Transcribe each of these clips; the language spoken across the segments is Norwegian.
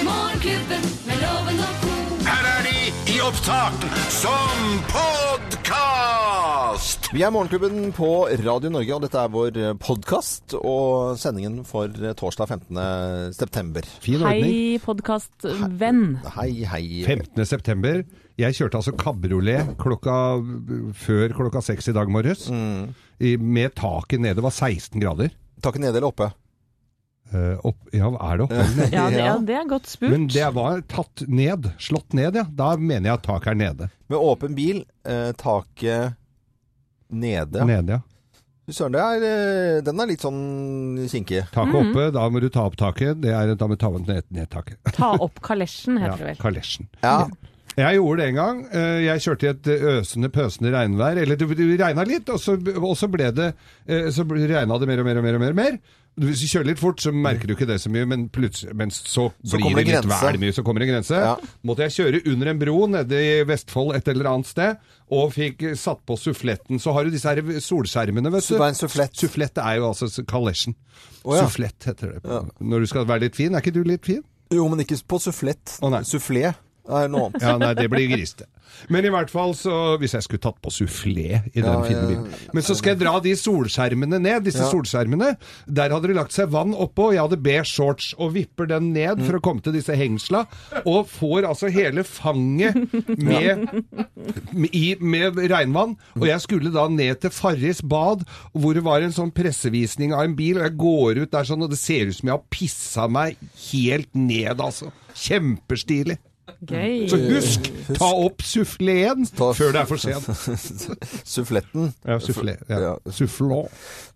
Morgenklubben med loven og ko. Her er de i opptak som podkast! Vi er Morgenklubben på Radio Norge, og dette er vår podkast og sendingen for eh, torsdag 15. september. Fin ordning. Hei, podkastvenn. Hei, hei. 15. september. Jeg kjørte altså kabriolet klokka, før klokka seks i dag morges. I, med taket nede. Det var 16 grader. Takken nede eller oppe? Eh, opp, ja, er det oppe? Ja, det, ja, Ja. det er godt Men spurt. det var tatt ned. Slått ned, ja. Da mener jeg at taket er nede. Med åpen bil, eh, taket nede. Nede, ja. Fy Søren, det er, eh, den er litt sånn kinkig. Taket oppe, da må du ta opp taket. Det er, da må du ta opp ned, ned taket. Ta opp kalesjen, Ja, heter det vel. kalesjen. Ja. Jeg gjorde det en gang. Eh, Jeg kjørte i et øsende, pøsende regnvær. Eller det det regna litt, og så, og så ble det eh, Så regna det mer og mer og mer. og mer, og mer. Hvis du kjører litt fort, så merker du ikke det så mye, men, plutselig- men så, Så blir kommer det det litt grense. vel mye. Så kommer det en grense. Ja. Måtte jeg kjøre under en bro nede i Vestfold et eller annet sted, og fikk eh, satt på suffletten. Så har du disse her solskjermene, vet Så det du. er en sufflett. Sufflett er jo altså s- kalesjen. Å, ja. Sufflett heter det. Når du skal være litt fin. Er ikke du litt fin? Jo, men ikke på sufflett. Å, nei. Sufflé er noe annet. Ja, nei, det blir griste. Men i hvert fall så Hvis jeg skulle tatt på sufflé i den Ja, fine ja, bilen. Men så skal jeg dra de solskjermene ned. Disse Ja. solskjermene. Der hadde det lagt seg vann oppå, og jeg hadde beige shorts. Og vipper den ned for Mm. å komme til disse hengsla, og får altså hele fanget med, i, med regnvann. Og jeg skulle da ned til Farris bad, hvor det var en sånn pressevisning av en bil, og jeg går ut der sånn, og det ser ut som jeg har pissa meg helt ned, altså. Kjempestilig. Gøy. Så husk, ta opp suffleen Ta- før det er for sent. Suffletten. Ja, sufflé. Ja. Ja. Sufflå.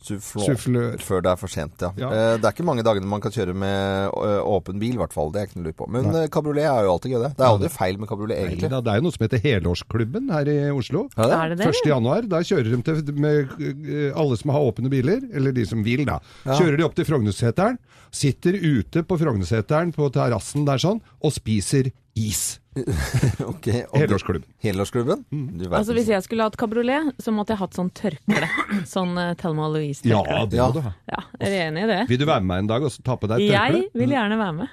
Sufflå. Sufflør. Før det er for sent, ja. Ja. Eh, Det er ikke mange dagene man kan kjøre med ø, åpen bil, i hvert fall. Det er ikke noe å lure på. Men eh, kabriolet er jo alltid gøy, det. Det er aldri feil med kabriolet, Nei, egentlig. da, Det er jo noe som heter Helårsklubben her i Oslo. Ja, det er Er det det? 1. januar, da kjører de til med, eh, alle som har åpne biler, eller de som vil da, kjører de opp til Frognerseteren, sitter ute på Frognerseteren på terrassen der sånn, og spiser is. Ok, og du- Helårsklubben. Helårsklubben? Mm. Du vet Altså, hvis jeg skulle hatt kabriolet, så måtte jeg hatt sånn tørkle. Sånn uh, Thelma Ja, Louise-tørkle. det må du ha. Ja, er du enig i det? Vil du være med meg en dag og så ta på deg et Jeg tørkle? vil gjerne være med.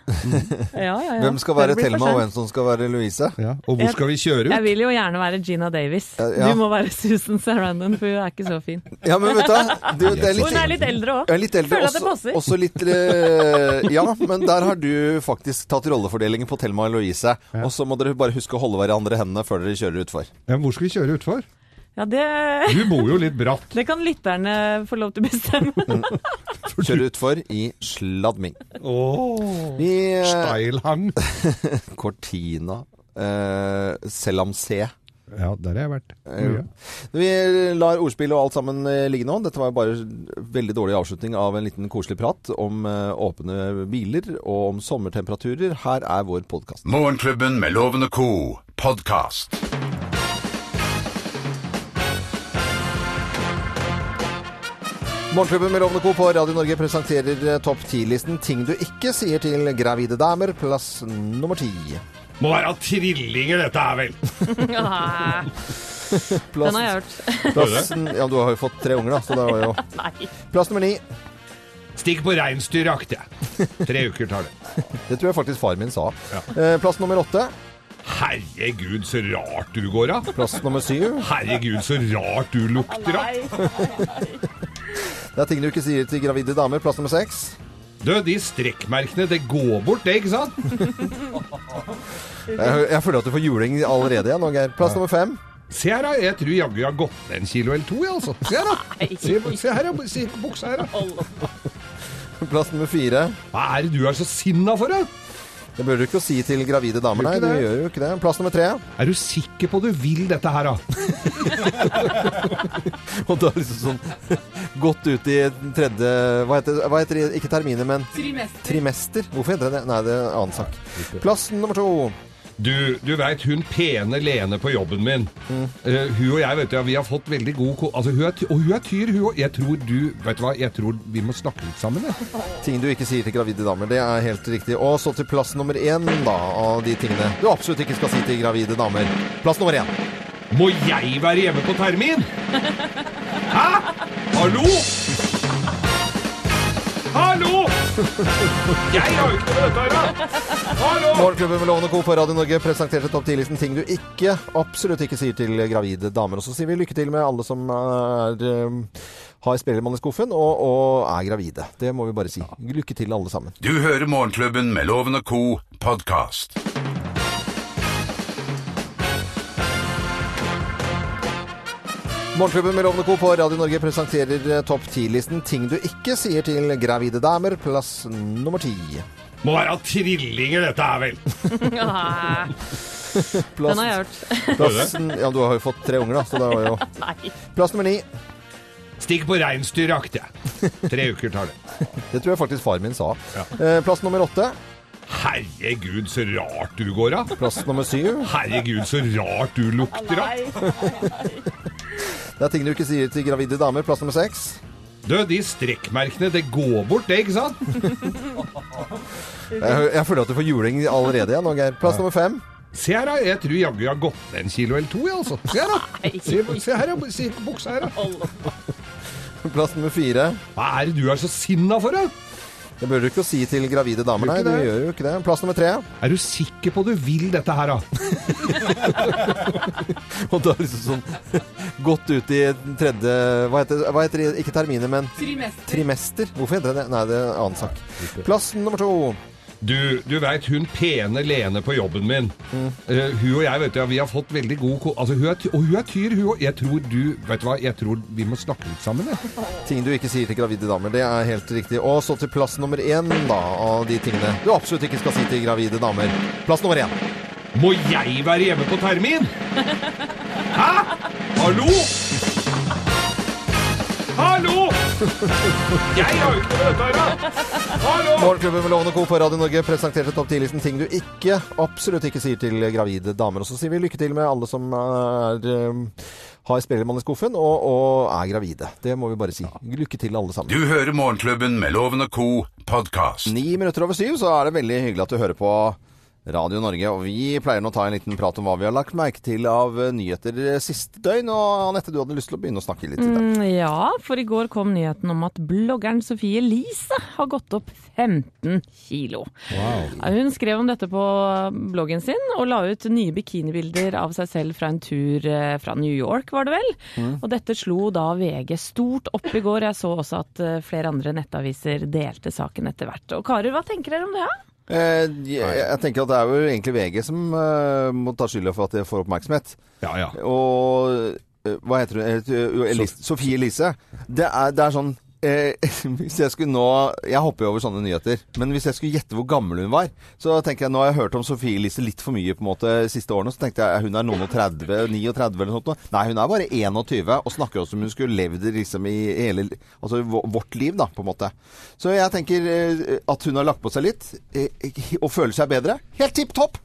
Ja, ja, ja. Hvem skal Før være det blir Thelma, for og hvem sent. som skal være Louise? Ja, og hvor skal vi kjøre Jeg ut? vil jo gjerne være Gina Davis. Ja. Du må være Susan Sarandon, for hun er ikke så fin. Ja, men vet du, hva? du det er Hun er litt, litt eldre jeg òg. er litt eldre. Føler at det også- passer. Også litt eh, Ja, men der har du faktisk tatt rollefordelingen på Thelma og Louise. Og så må dere bare huske å holde hverandre i hendene før dere kjører utfor. Ja, hvor skal vi kjøre ut for? Ja, det, Du bor jo litt bratt. det kan lytterne få lov til å bestemme. Kjøre utfor i sladming. Åh, I eh, Steilhang. Cortina eh, Selamsee. Ja, der har jeg vært. Mye. Vi lar ordspill og alt sammen eh, ligge nå. Dette var jo bare veldig dårlig avslutning av en liten koselig prat om eh, åpne biler og om sommertemperaturer. Her er vår podkast. Morgenklubben med Loven og Co. podkast. Morgenklubben med Lovende Co. på Radio Norge presenterer eh, topp ti-listen ting du ikke sier til gravide damer, plass nummer ti. Må være trillinger dette her, vel? Ah, Plass, Den har jeg hørt. plassen, ja, du har jo fått tre unger, da, så det var jo Nei. Plass nummer ni. Stikk på reinsdyrjakt, jeg. Tre uker tar det. Det tror jeg faktisk far min sa. Eh, Plass nummer åtte. Herregud, så rart du går av. Plass nummer syv. Herregud, så rart du lukter av. Det er ting du ikke sier til gravide damer. Plass nummer seks. Du, de strekkmerkene, det går bort, det, ikke sant? Jeg, jeg føler at du får juling allerede igjen nå, Geir. Plass nummer fem. Se her, da. Jeg tror jaggu jeg har gått ned en kilo eller to, jeg, altså. Se her, da. Se, se her, da. Se på buksa her, da. Plass nummer fire. Hva er det du er så sinna for, da? Det bør du ikke si til gravide damer, nei. Gjør Du ikke det. gjør jo ikke det. Plass nummer tre. Er du sikker på du vil dette her, da? Og da liksom sånn godt ut i tredje Hva heter, hva heter det? Ikke terminer, men Trimester. trimester. Hvorfor heter det det? Nei, det er en annen sak. Plass nummer to. Du, du veit hun pene Lene på jobben min. Eh, hun og jeg, vet du, ja, vi har fått veldig god ko... Altså, hun er ty og hun er tyr, hun òg. Jeg tror du Vet du hva, jeg tror vi må snakke litt sammen, jeg. Ting du ikke sier til gravide damer. Det er helt riktig. Og så til plass nummer én, da, av de tingene du absolutt ikke skal si til gravide damer. Plass nummer én. Må jeg være hjemme på termin? Hæ? Hallo? Hallo! Hallo! Jeg har jo ikke noe med dette å gjøre! Hallo! Morgenklubben med Lovende Co. på Radio Norge presenterte topp 10-listen ting du ikke, absolutt ikke sier til gravide damer. Og så sier vi lykke til med alle som er, eh, har Spellemann i skuffen og, og er gravide. Det må vi bare si. Lykke til alle sammen. Du hører Morgenklubben med Loven og Co. podkast. Morgenklubben med Lovende Co. på Radio Norge presenterer eh, topp 10-listen ting du ikke sier til gravide damer, plass nummer ti. Må være trillinger, dette her, vel. Nei, Plass, Den har jeg hørt. plass, ja, du har jo fått tre unger, da, så det var jo Nei. Plass nummer ni. Stikk på reinsdyrjakt, jeg. Tre uker tar det. Det tror jeg faktisk far min sa. Ja. Eh, Plass nummer åtte. Herregud, så rart du går av. Plass nummer syv. Herregud, så rart du lukter av. Det er ting du ikke sier til gravide damer. Plass nummer seks. Du, de strekkmerkene, det går bort, det, ikke sant? Jeg, jeg føler at du får juling allerede igjen nå, Geir. Plass nummer fem. Se her, da. Jeg tror jaggu jeg har gått ned en kilo eller to, jeg, altså. Se her, da. Se, se her, da. Se på buksa her, da. Plass nummer fire. Hva er det du er så sinna for, da? Det bør du ikke si til gravide damer, nei. Gjør ikke Du det. gjør jo ikke det. Plass nummer tre. Er du sikker på du vil dette her, da? Og da er liksom sånn godt ut i tredje Hva heter det? Hva heter det? Ikke terminer, men Trimester. trimester. Hvorfor heter det det? Nei, det er en annen sak. Plass nummer to. Du, du veit hun pene Lene på jobben min. Eh, hun og jeg, vet du, ja, vi har fått veldig god ko... Altså, hun er ty og hun er tyr, hun òg. Jeg tror du Vet du hva, jeg tror vi må snakke litt sammen, jeg. Ting du ikke sier til gravide damer. Det er helt riktig. Og så til plass nummer én, da, av de tingene du absolutt ikke skal si til gravide damer. Plass nummer én. Må jeg være hjemme på termin? Hæ? Hallo? Hallo! Jeg har jo ikke noe med dette å gjøre! Hallo! Morgenklubben med Lovende Co. på Radio Norge presenterte topp 10-listen ting du ikke, absolutt ikke sier til gravide damer. Og så sier vi lykke til med alle som er, eh, har Spellemann i skuffen og, og er gravide. Det må vi bare si. Lykke til alle sammen. Du hører Morgenklubben med Loven og Co. podkast. Ni minutter over syv, så er det veldig hyggelig at du hører på Radio Norge. Og vi pleier nå å ta en liten prat om hva vi har lagt merke til av eh, nyheter eh, siste døgn. Og Anette, du hadde lyst til å begynne å snakke litt i Mm. dag. Ja, for i går kom nyheten om at bloggeren Sofie Elise har gått opp 15 kilo. Hun skrev om dette på bloggen sin, og la ut nye bikinibilder av seg selv fra en tur eh, fra New York, var det vel. Mm. Og dette slo da VG stort opp i går. Jeg så også at eh, flere andre nettaviser delte saken etter hvert. Og karer, hva tenker dere om det? Ja? Eh, jeg, jeg tenker at det er jo egentlig VG som eh, må ta skylda for at det får oppmerksomhet. Ja, ja. Og eh, hva heter hun? Eh, eh, Elis Sofie Elise. Det er, det er sånn eh, Hvis jeg skulle nå Jeg hopper jo over sånne nyheter. Men hvis jeg skulle gjette hvor gammel hun var, så tenker jeg nå har jeg hørt om Sofie Elise litt for mye på en måte de siste årene. Så tenkte jeg hun er noen og 30, 39 eller noe sånt. Nei, hun er bare 21 og snakker også om hun skulle levd liksom i hele Altså i vå- vårt liv, da, på en måte. Så jeg tenker eh, at hun har lagt på seg litt eh, og føler seg bedre. Helt tipp topp!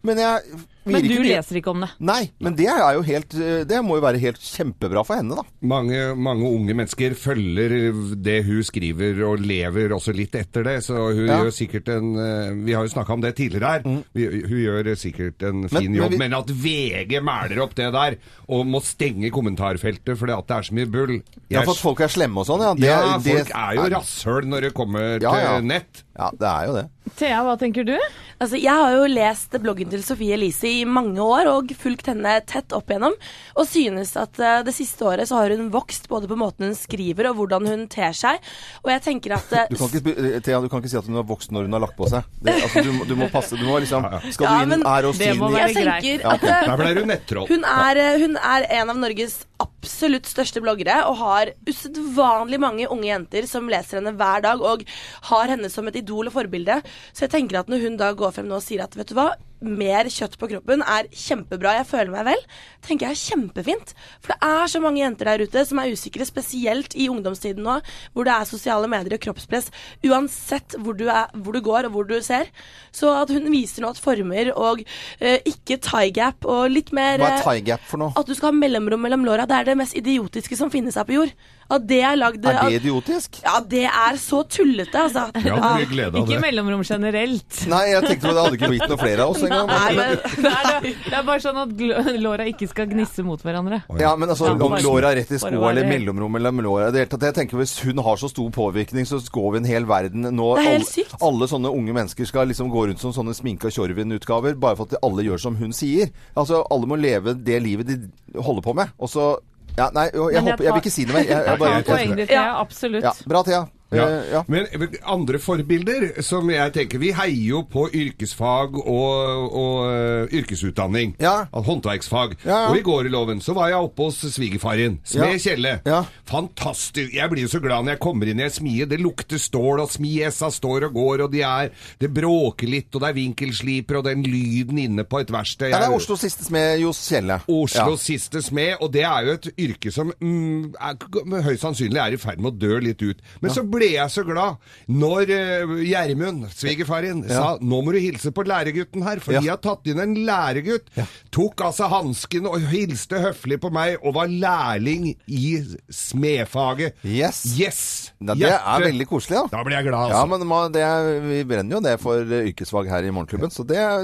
Men jeg vil Men ikke du bli- leser ikke om det. Nei, men det, er jo helt, eh, det må jo være helt kjempebra for henne, da. Mange, mange unge mennesker følger det hun skriver og lever også litt etter det, så hun Ja. Mm. gjør sikkert en eh, Vi har jo snakka om det tidligere her. Vi, hun gjør sikkert en fin men jobb, vi- men at VG mæler opp det der og må stenge kommentarfeltet fordi at det er så mye bull Ja, Jeg- for at folk er slemme og sånn, ja. Det- ja, det- folk er jo rasshøl når det kommer Ja, ja. til nett. Ja, det er jo det. Thea, hva tenker du? Altså, jeg har jo lest bloggen til Sofie Elise i mange år og fulgt henne tett opp igjennom, og synes at eh, det siste året så har hun vokst både på måten hun skriver og hvordan hun ter seg. Og jeg tenker at eh, Du kan ikke, sp- Thea, du kan ikke si at hun har vokst når hun har lagt på seg. Det, altså, du, må- du må passe. Du må liksom Skal Ja, du inn men her og det inn må i- være jeg greit. tenker Ja, at eh, Der ble du nettroll. hun er, eh, hun er en av Norges absolutt største bloggere og har usedvanlig mange unge jenter som leser henne hver dag og har henne som et idol og forbilde. Så jeg tenker at når hun da går frem nå og sier at vet du hva, mer kjøtt på kroppen er kjempebra, jeg føler meg vel, tenker jeg er kjempefint. For det er så mange jenter der ute som er usikre, spesielt i ungdomstiden nå, hvor det er sosiale medier og kroppspress, uansett hvor du, er, hvor du går og hvor du ser. Så at hun viser nå at former og eh, ikke tie gap og litt mer Hva er eh, tie gap for noe? at du skal ha mellomrom mellom låra. Det er det mest idiotiske som finnes her på jord. At det er lagd Er det at- idiotisk? Ja, det er så tullete, altså. Jeg hadde mye glede av Ikke det. mellomrom generelt. Nei, jeg tenkte på det hadde ikke blitt noen flere av oss engang. Nei, men, Det er, det, det er bare sånn at gl- låra ikke skal gnisse mot hverandre. Ja, men altså, Ja, om bare- låra rett i bare skoa være- eller mellomrom eller om låra i det hele tatt, Jeg tenker Hvis hun har så stor påvirkning, så går vi en hel verden nå. Det er helt alle, sykt. alle sånne unge mennesker skal liksom gå rundt som sånne sminka Tjorven-utgaver, bare for at alle gjør som hun sier. Altså, Alle må leve det livet de holder på med. Og så Ja, nei, jeg, jeg håper, jeg vil tar- ikke si det mer. Jeg, jeg Ta bare, jeg tror poenget det. ditt, ja, absolutt. ja, bra, Thea. Ja. Eh, ja. Men men andre forbilder som jeg tenker Vi heier jo på yrkesfag og, og eh, yrkesutdanning. Ja. Av Håndverksfag. Ja, ja. Og i går i loven så var jeg oppe hos svigerfar din, smed Ja. Kjelle. Ja. Fantastisk. Jeg blir jo så glad når jeg kommer inn i en smie. Det lukter stål, og smiesa står og går, og de er Det bråker litt, og det er vinkelsliper, og den lyden inne på et verksted Ja, det Jeg- er Oslo siste smed Johs Kjelle. Oslos Ja. siste smed, og det er jo et yrke som mm, er, høyst sannsynlig er i ferd med å dø litt ut. Men så ble jeg så glad når eh, Gjermund, svigerfaren, sa 'nå må du hilse på læregutten her', for Ja. de har tatt inn en læregutt. Tok altså hansken og hilste høflig på meg, og var lærling i smedfaget. Yes. Yes! Ja, det er Hjerte. veldig koselig, da. Da blir jeg glad, Ja, altså. men man, det er, vi brenner jo det for eh, yrkesfag her i Morgenklubben. Så det er,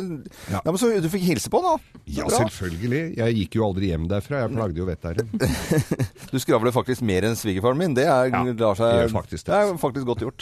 ja. Ja. men så du fikk hilse på han, da? Ja, Bra. selvfølgelig. Jeg gikk jo aldri hjem derfra. Jeg plagde jo vettet her. Du skravler faktisk mer enn svigerfaren min. Det er, Ja, lar seg, jeg gjør faktisk det. det er faktisk godt gjort.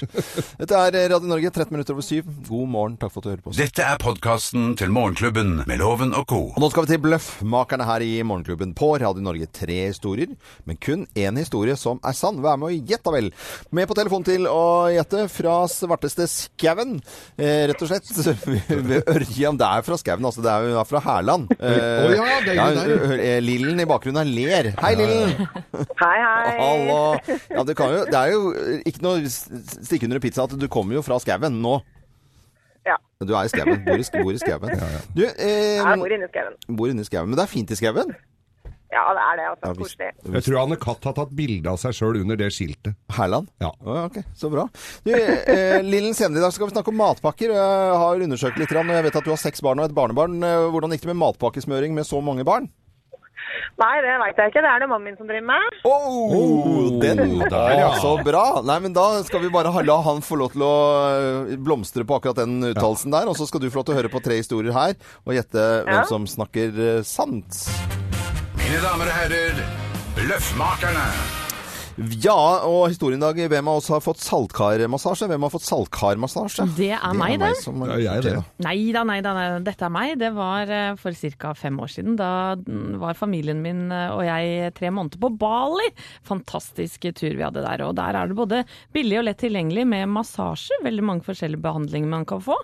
Dette er eh, Radio Norge, 13 minutter over syv. God morgen, takk for at du hører på oss. Dette er podkasten til Morgenklubben med Loven og co. Og nå skal vi til Bløffmakerne her i Morgenklubben på Radio Norge. Tre historier, men kun én historie som er sann. Vær med og gjett, da vel. Med på telefon til å gjette fra svarteste skauen, eh, rett og slett. Ved Ørjan. Det er fra skauen, altså. Det er jo fra Hærland. Eh, Å ja, det er jo der, eh, Lillen i bakgrunnen her ler. Hei, Lillen. Hei, hei. Hallo. Ja, det, kan jo, det er jo ikke noe s- stikke under en pizza at du kommer jo fra skauen nå. Ja. Du er i skauen. Bor i, sk- bor i skauen. Du, eh, Jeg bor inne i skauen. Bor inne i skauen. Men det er fint i skauen. Ja, det er det. altså. Ja, visst. Koselig. Jeg tror Anne Katt har tatt bilde av seg sjøl under det skiltet. Herland? Ja. Å, ja, ok, så bra. Du, eh, Lillen, senere i dag skal vi snakke om matpakker. Jeg har undersøkt litt, grann, og jeg vet at du har seks barn og et barnebarn. Eh, Hvordan gikk det med matpakkesmøring med så mange barn? Nei, det veit jeg ikke. Det er det mannen min som driver med. Oh, den der, der, ja. Så bra. Nei, men da skal vi bare ha- la han få lov til å eh, blomstre på akkurat den uttalelsen der, og så skal du få lov til å høre på tre historier her og gjette hvem som snakker eh, sant. Mine damer og herrer, Løffmakerne. Ja, og historien i dag, hvem av oss har fått saltkarmassasje? Hvem har fått saltkarmassasje? Det er meg, det. som har Ja, jeg gjort det, det. da. Nei da, nei da, nei da. dette er meg. Det var eh, for ca. fem år siden. Da mm, var familien min eh, og jeg tre måneder på Bali. Fantastisk tur vi hadde der. Og der er det både billig og lett tilgjengelig med massasje. Veldig mange forskjellige behandlinger man kan få.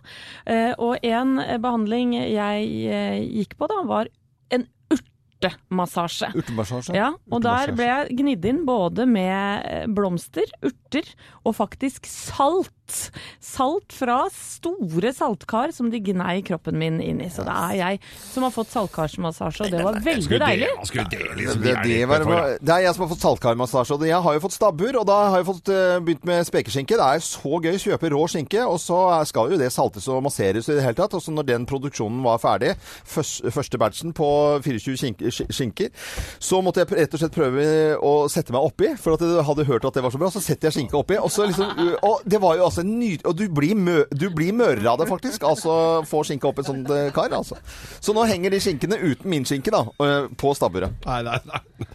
Eh, Og en eh, behandling jeg eh, gikk på da, var en urtemassasje. Urtemassasje. Ja, og der Urtemassasje. ble jeg gnidd inn både med eh, blomster, urter og faktisk salt. Salt fra store saltkar som de gnei kroppen min inn i. Så det er jeg som har fått saltkarsmassasje, og det var veldig deilig. Han skulle dele liksom Det, det, var, hjertet for deg. det er jeg som har fått saltkarmassasje. Og jeg har jo fått stabbur, og da har jeg fått eh, begynt med spekeskinke. Det er så gøy å kjøpe rå skinke, og så er- skal jo det saltes og masseres i det hele tatt. Og så når den produksjonen var ferdig, først, første batchen på 24 skinke, sk- skinker, så måtte jeg pr- rett og slett prøve å sette meg oppi, for at jeg hadde hørt at det var så bra. Så setter jeg skinka oppi, og så liksom u- Og det var jo altså en ny... Og du blir, mø, du blir mørere av det, faktisk. Altså få skinka opp et sånt eh, kar, altså. Så nå henger de skinkene uten min skinke, da, eh, på stabburet. Nei, nei, nei.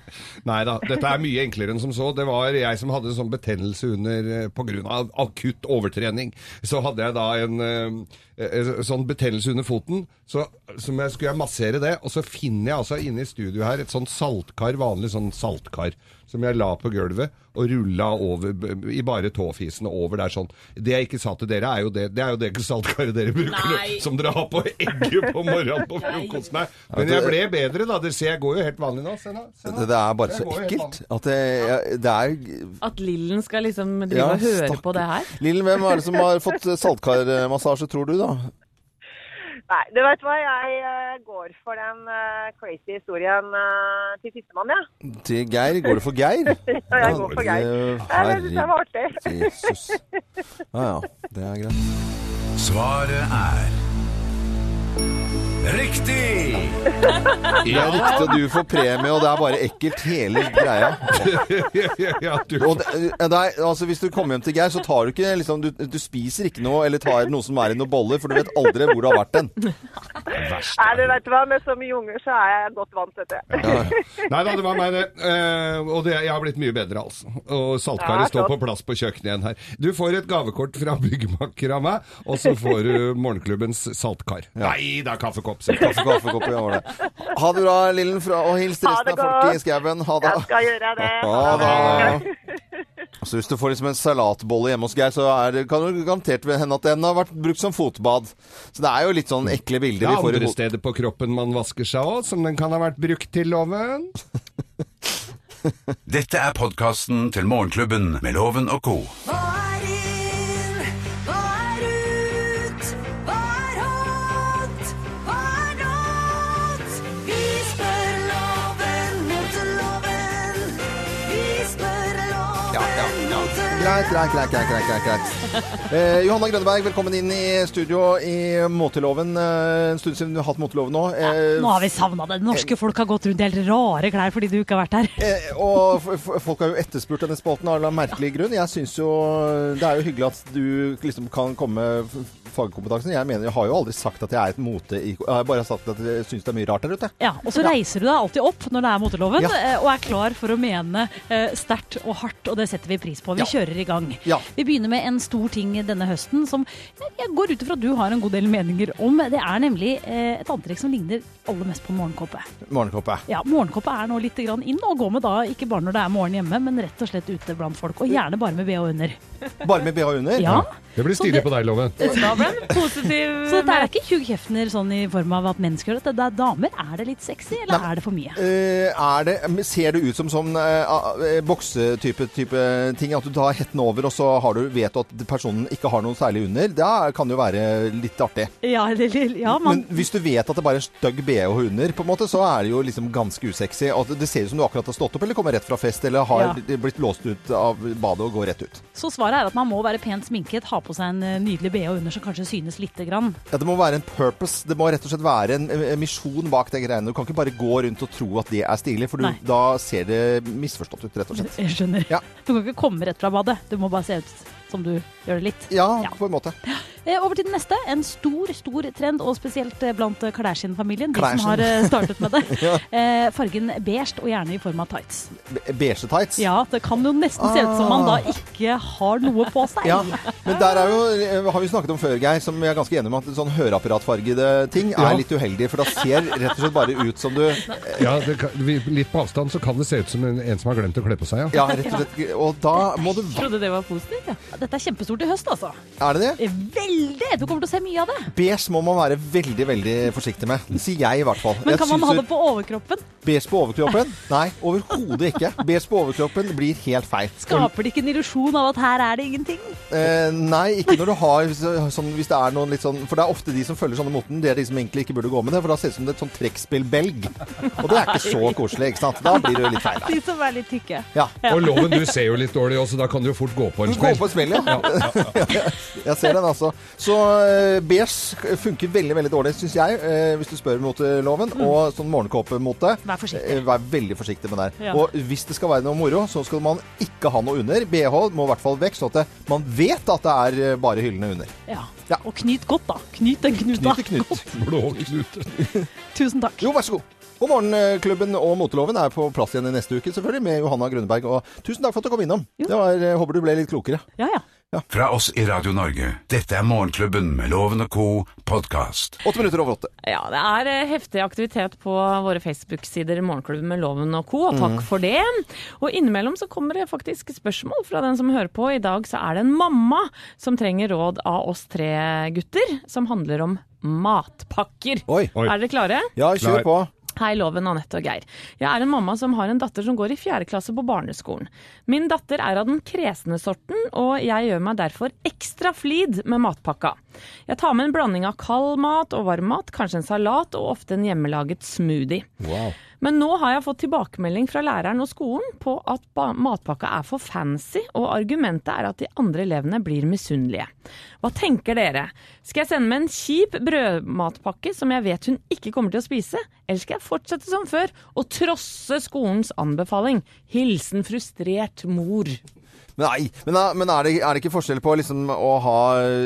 nei da, dette er mye enklere enn som så. Det var jeg som hadde en sånn betennelse under eh, på grunn av akutt overtrening. Så hadde jeg da en eh, eh, sånn betennelse under foten, så, som jeg skulle jeg massere det. Og så finner jeg altså inne i studio her et sånn saltkar, vanlig sånn saltkar, som jeg la på gulvet og rulla over b- i bare tåfisen og over der sånn. Det jeg ikke sa til dere, er jo det, det, er jo det saltkaret dere bruker, Nei. som dere har på egget på morgenen på frokost. Nei. Men jeg ble bedre, da. Dere ser jeg går jo helt vanlig nå. Se nå. Se nå. Det, det er bare Jeg så går helt ekkelt vanlig. at det, jeg- det er At Lillen skal liksom drive og høre stakkars. på det her. Lillen, hvem er det som har fått saltkarmassasje, tror du, da? Nei, du veit hva. Jeg eh, går for den eh, crazy historien eh, til sistemann, jeg. Til Geir? Går det for Geir? Ja. Jeg går for Geir. Nei, det syns jeg var artig. Herre Jesus. Ja ja, det er greit. Svaret er Riktig! Det er riktig, og du får premie, og det er bare ekkelt hele greia. ja, du, Og det, eh, det er, altså, hvis du kommer hjem til Geir, så tar du ikke liksom, du, du spiser ikke noe eller tar noe som er i noen boller, for du vet aldri hvor det har vært den. Nei, du vet du hva, med så mye unger så er jeg godt vant til det. Nei da, det var meg, det. Eh, og det, jeg har blitt mye bedre, altså. Og saltkaret Ja, står flott. på plass på kjøkkenet igjen her. Du får et gavekort fra byggmakker av meg, og så får du morgenklubbens saltkar. Nei, det er kaffekopp. sier jeg. Kaffe, kaffe, kopp, ja, var det. Ha det bra, Lillen, fra, og hils til Ha resten det av folket i godt. skauen. Ha det. Jeg skal gjøre det. Ha det. Så hvis du får liksom en salatbolle hjemme hos Geir, så er, det- kan du garantert hende at den har vært brukt som fotbad. Så det er jo litt sånn ekle Det bilder er vi får i andre hodet. steder på kroppen man vasker seg òg, som den kan ha vært brukt til, Loven. Dette er podkasten til Morgenklubben med Loven og co. Hva er inn? Hva er ut? Hva er hot? Hva er not? Vi spør loven mot loven. Vi spør loven mot Greit, greit, greit, greit, greit, greit, greit. Eh, Johanna Grønneberg, velkommen inn i studio i Måteloven. Eh, en stund siden du har hatt Måteloven nå. Eh, Nå har vi savna det. Det norske folk har gått rundt i helt rare klær fordi du ikke har vært her. Eh, og f- f- folk har jo etterspurt denne spalten av en eller annen merkelig grunn. Jeg syns jo Det er jo hyggelig at du liksom kan komme med f- fagkompetansen. Jeg mener, jeg har jo aldri sagt at jeg er et mote... Jeg har bare sagt at jeg syns det er mye rart der ute. Ja, Og så reiser du deg alltid opp når det er moteloven, Ja. eh, og er klar for å mene eh, sterkt og hardt, og det setter vi pris på. Vi Ja. kjører i gang. Ja. Vi begynner med en stor ting denne høsten som jeg- jeg går ut ifra at du har en god del meninger om. Det er nemlig eh, et antrekk som ligner aller mest på en morgenkåpe. Morgenkåpe. Ja, Morgenkåpe er nå litt grann inn, og gå med da ikke bare når det er morgen hjemme, men rett og slett ute blant folk. Og gjerne bare med bh under. Bare med bh under. Ja. Det blir Så stilig det- på deg, Loven. Da ble det en positiv Så dette er ikke Hugh Hefner sånn i form av at mennesker gjør dette. Det er damer. Er det litt sexy, eller er det for mye? Eh, er det, men ser det ut som sånn eh, eh, boksetype type ting? At du tar hetten over, og så har du, vet du at personen ikke har noe særlig under? Det er- kan jo være litt artig. Ja, eller- eller- ja, man, Men hvis du vet at det bare er stygg BH under, på en måte, så er det jo liksom ganske usexy. Og det ser ut som du akkurat har stått opp eller kommer rett fra fest eller har blitt låst ut av badet og går rett ut. så svaret er at man må være pent sminket, ha på seg en eh, nydelig BH under som kanskje synes lite grann. Ja, det må være en purpose. Det må rett og slett være en eh, misjon bak de greiene. Du kan ikke bare gå rundt og tro at det er stilig, for du, Nei. da ser det misforstått ut, rett og slett. Jeg skjønner. Ja. Du kan ikke komme rett fra badet. Du må bare se ut som du gjør det litt. Ja, Ja. på en måte. Eh, Over til den neste. En stor, stor trend, og spesielt eh, blant eh, Kardashian-familien. De Kardashian. som har eh, startet med det. Eh, Fargen beige, og gjerne i form av tights. Be- Beige tights. Ja, det kan jo nesten se ut som man da ikke har noe på seg. Ah. Ja, men der er jo, eh, har vi snakket om før, Geir, som jeg er ganske enig med at sånn høreapparatfargede ting Ja. er litt uheldig, for da ser rett og slett bare ut som du Ja, det kan, vi- litt på avstand så kan det se ut som en, en som har glemt å kle på seg, ja. Ja, rett og slett. Og da må du Trodde det var positivt, ja. Dette er kjempestort i høst, altså. Er det det? Veldig! Du kommer til å se mye av det. Beige må man være veldig veldig forsiktig med. Det sier jeg i hvert fall. Men Jeg kan man syns ha jo det på overkroppen? Beige på overkroppen? Nei, overhodet ikke. Beige på overkroppen blir helt feil. Skaper det ikke en illusjon av at her er det ingenting? Eh, nei, ikke når du har så- sånn hvis det er noen litt sånn For det er ofte de som følger sånne moten, det er de som egentlig ikke burde gå med det, for da ser det ut som et sånn trekkspillbelg. Og det er ikke så koselig, ikke sant? Da blir det jo litt feil. De som er litt tykke. Ja. Og Loven, du ser jo litt dårlig også, da kan du jo fort gå på en Gå smell. på smell, ja. Jeg ser den, altså. Så eh, beige funker veldig veldig dårlig, syns jeg, eh, hvis du spør mot eh, loven. Og sånn morgenkåpemote. Mm. Vær forsiktig. eh, Vær veldig forsiktig med der. Ja. Og hvis det skal være noe moro, så skal man ikke ha noe under. BH må i hvert fall vekk, sånn at det- man vet at det er eh, bare hyllene under. Ja. Ja. Og knyt godt, da. Knyt den knuta. Knyt i knut. Blå knute. Tusen takk. Jo, vær så god. God morgen, eh, klubben og moteloven er på plass igjen i neste uke, selvfølgelig, med Johanna Grønneberg. Og tusen takk for at du kom innom. Jo. Det var, eh, håper du ble litt klokere. Ja, ja. Fra oss i Radio Norge. Dette er Morgenklubben med Loven og co. podkast. Åtte minutter over åtte. Ja, det er eh, heftig aktivitet på våre Facebook-sider Morgenklubben med Loven og co., og takk for det. Og innimellom så kommer det faktisk spørsmål fra den som hører på. I dag så er det en mamma som trenger råd av oss tre gutter, som handler om matpakker. Oi. Oi. Er dere klare? Ja, kjør Klar. på. Hei, Loven, Anette og Geir. Jeg er en mamma som har en datter som går i fjerde klasse på barneskolen. Min datter er av den kresne sorten, og jeg gjør meg derfor ekstra flid med matpakka. Jeg tar med en blanding av kald mat og varm mat, kanskje en salat og ofte en hjemmelaget smoothie. Men nå har jeg fått tilbakemelding fra læreren og skolen på at ba- matpakka er for fancy, og argumentet er at de andre elevene blir misunnelige. Hva tenker dere? Skal jeg sende med en kjip brødmatpakke som jeg vet hun ikke kommer til å spise, eller skal jeg fortsette som før og trosse skolens anbefaling? Hilsen frustrert mor. Men nei, men, da- men er, det, er det ikke forskjell på liksom å ha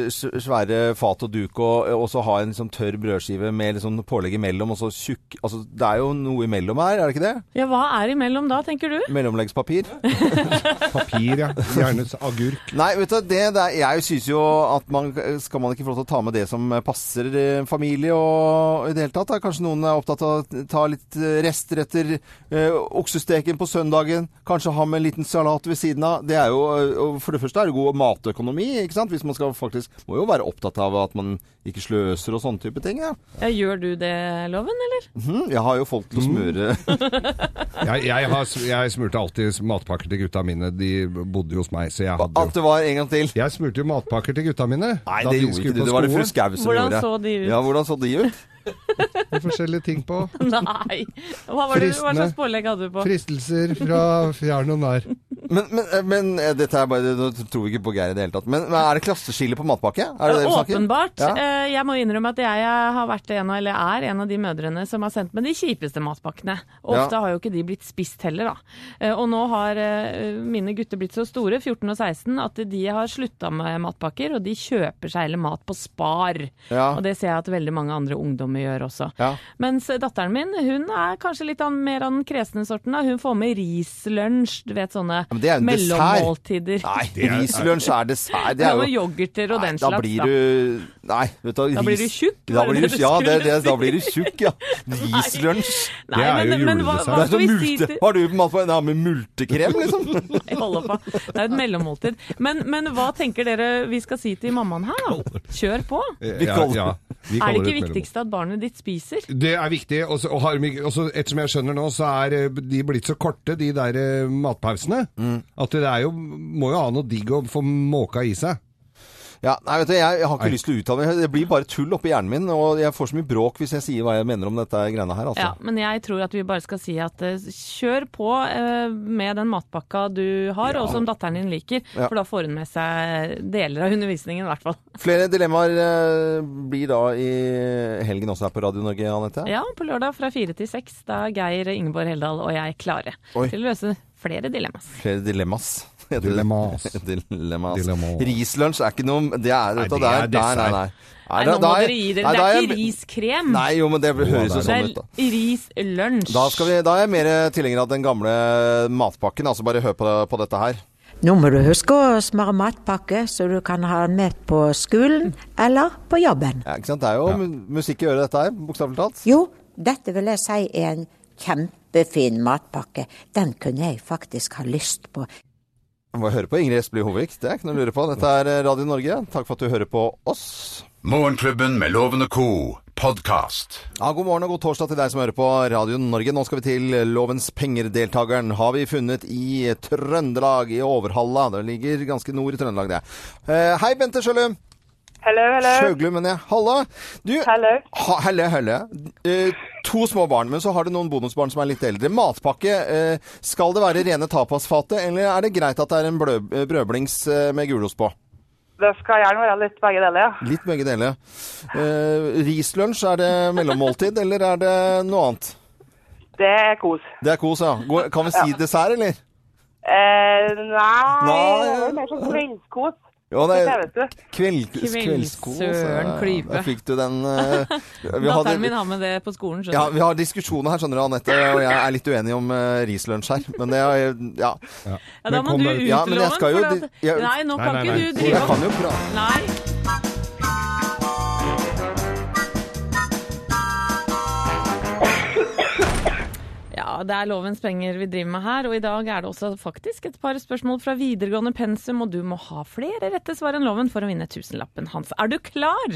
s- svære fat og duk og, og så ha en liksom tørr brødskive med liksom pålegg imellom, og så tjukk altså, Det er jo noe imellom her, er det ikke det? Ja, hva er imellom da, tenker du? Mellomleggspapir. Papir, ja. Gjerne s- agurk. Nei, vet du, det, det er, jeg syns jo at man skal man ikke få lov til å ta med det som passer eh, familie og i det hele tatt. Da. Kanskje noen er opptatt av å ta litt eh, rester etter eh, oksesteken på søndagen. Kanskje ha med en liten salat ved siden av. Det er jo, eh, og for det første er det god matøkonomi, ikke sant. Hvis man skal faktisk Må jo være opptatt av at man ikke sløser og sånne type ting. Ja. Ja, gjør du det, Loven, eller? Hm, jeg har jo folk til å smøre Jeg, jeg, har, s- jeg smurte alltid matpakker til gutta mine. De bodde jo hos meg, så jeg hadde At jo det var en gang til. Jeg smurte jo matpakker til gutta mine. Nei, da det de gjorde skulle ikke på du. Det var det fru skolen. Skau som Hvordan gjorde. så de ut? Ja, hvordan så de ut? Med forskjellige ting på. Nei. Hva, var det, hva Fristende. slags pålegg hadde du på? Fristelser fra fjern og nær. Men, men, men eh, dette er bare, nå tror vi ikke på Geir i det hele tatt. Men, men er det klasseskille på matpakke? Er det det vi snakker? Åpenbart. Ja. Eh, Jeg må innrømme at jeg eh, har vært en av, eller er en av de mødrene som har sendt med de kjipeste matpakkene. Og Ja. ofte har jo ikke de blitt spist heller, da. Eh, Og nå har eh, mine gutter blitt så store, 14 og 16, at de har slutta med matpakker, og de kjøper seg heller mat på Spar. Ja. Og det ser jeg at veldig mange andre ungdommer gjør også. Ja. Mens eh, datteren min, hun er kanskje litt an, mer av den kresne sorten. Da. Hun får med rislunsj, du vet sånne men det er jo en dessert. mellommåltider. Nei, rislunsj er dessert. Det Ja, er og jo yoghurter og Nei, den da slags. blir du Nei, vet du hva, Da blir ris- du tjukk, Da var det blir det du, du ja, det, det, skulle da blir du tjukk, ja. Rislunsj. Nei, Det er men, jo men hva, Det hva juledessert. er sånn skal som vi si multe. til Har du matpakke? Har med multekrem, liksom? Jeg holder på. Det er et mellommåltid. Men, men hva tenker dere vi skal si til mammaen her, da? Kjør på. Ja, Vi kaller- vi Er det kaller ikke et mellommål. viktigst at barnet ditt spiser? Det er viktig. Og så- og har, de- og så ettersom jeg skjønner nå, så er eh, de blitt så korte, de der eh, matpausene, at det er jo, må jo ha noe digg å få måka i seg. Ja, nei, vet du, jeg, jeg har ikke Nei. lyst til å uttale meg. Det blir bare tull oppi hjernen min, og jeg får så mye bråk hvis jeg sier hva jeg mener om dette greiene her, altså. Ja, men jeg tror at vi bare skal si at eh, kjør på eh, med den matpakka du har, og som datteren din liker. Ja. For da får hun med seg deler av undervisningen, i hvert fall. Flere dilemmaer eh, blir da i helgen også her på Radio Norge, Anette. Ja, på lørdag fra fire til seks. Da er Geir Ingeborg Heldal og jeg klare Oi. til å løse flere dilemmas. Flere dilemmas. heter det. Dilemmas. Dilemmas. Dilemmas. Rislunsj er ikke noe Det er, vet du, det er det er- Nei, nei, nei. dessert. Nei, da- nå må da er- dere gi dere. nei, Det da er jeg- ikke riskrem. Nei, jo, men det høres jo Det sånn ut, da. er rislunsj. Da, skal vi, da er jeg mer tilhenger av den gamle matpakken. Altså, bare hør på, på dette her. Nå må du huske å smøre matpakke, så du kan ha den med på skolen eller på jobben. Ja, ikke sant? Det er jo mu- musikk i øret, dette her, bokstavelig talt. Jo, dette vil jeg si er en kjempefin matpakke. Den kunne jeg faktisk ha lyst på. Jeg Må høre på Ingrid Espelid Hovig. Det er ikke noe å lure på. Dette er eh, Radio Norge. Takk for at du hører på oss. Morgenklubben med Loven og co. podkast. Ja, God morgen og god torsdag til deg som hører på Radio Norge. Nå skal vi til Lovens penger-deltakeren. Har vi funnet i Trøndelag, i Overhalla. Det ligger ganske nord i Trøndelag, det. Eh, hei, Bente Sjølum. Hello, hello. Sjøglum, mener jeg. Halla. Du, Hello. ha, helle, helle. Eh, to små barn, men så har du noen bonusbarn som er litt eldre. Matpakke. eh, skal det være rene tapasfatet, eller er det greit at det er en blø eh, brødblings eh, med gulost på? Det skal gjerne være litt begge deler, ja. Litt begge deler. Eh, rislunsj, er det mellommåltid, eller er det noe annet? Det er kos. Det er kos, ja. Går, kan vi si dessert, eller? Eh, nei, Nei. det er mer sånn kveldskos. Jo, det Det er vet du. kveld, Kvelds- kveldskos. Søren Klype. Der fikk du den. eh, vi hadde- Datteren min har med det på skolen, ja, skjønner du. vi har diskusjoner her, skjønner du, Anette, og jeg er litt uenig om eh, rislunsj her. Men det er Ja. Ja, da Men må kom du deg ut, ut. Ja, men jeg Loven, skal jo for di- at, jeg- Nei, nå Nei, kan nei, ikke nei. du Jeg drive kan og jo prate. Nei. Ja, det er lovens penger vi driver med her, og i dag er det også faktisk et par spørsmål fra videregående pensum, og du må ha flere rette svar enn loven for å vinne tusenlappen hans. Er du klar?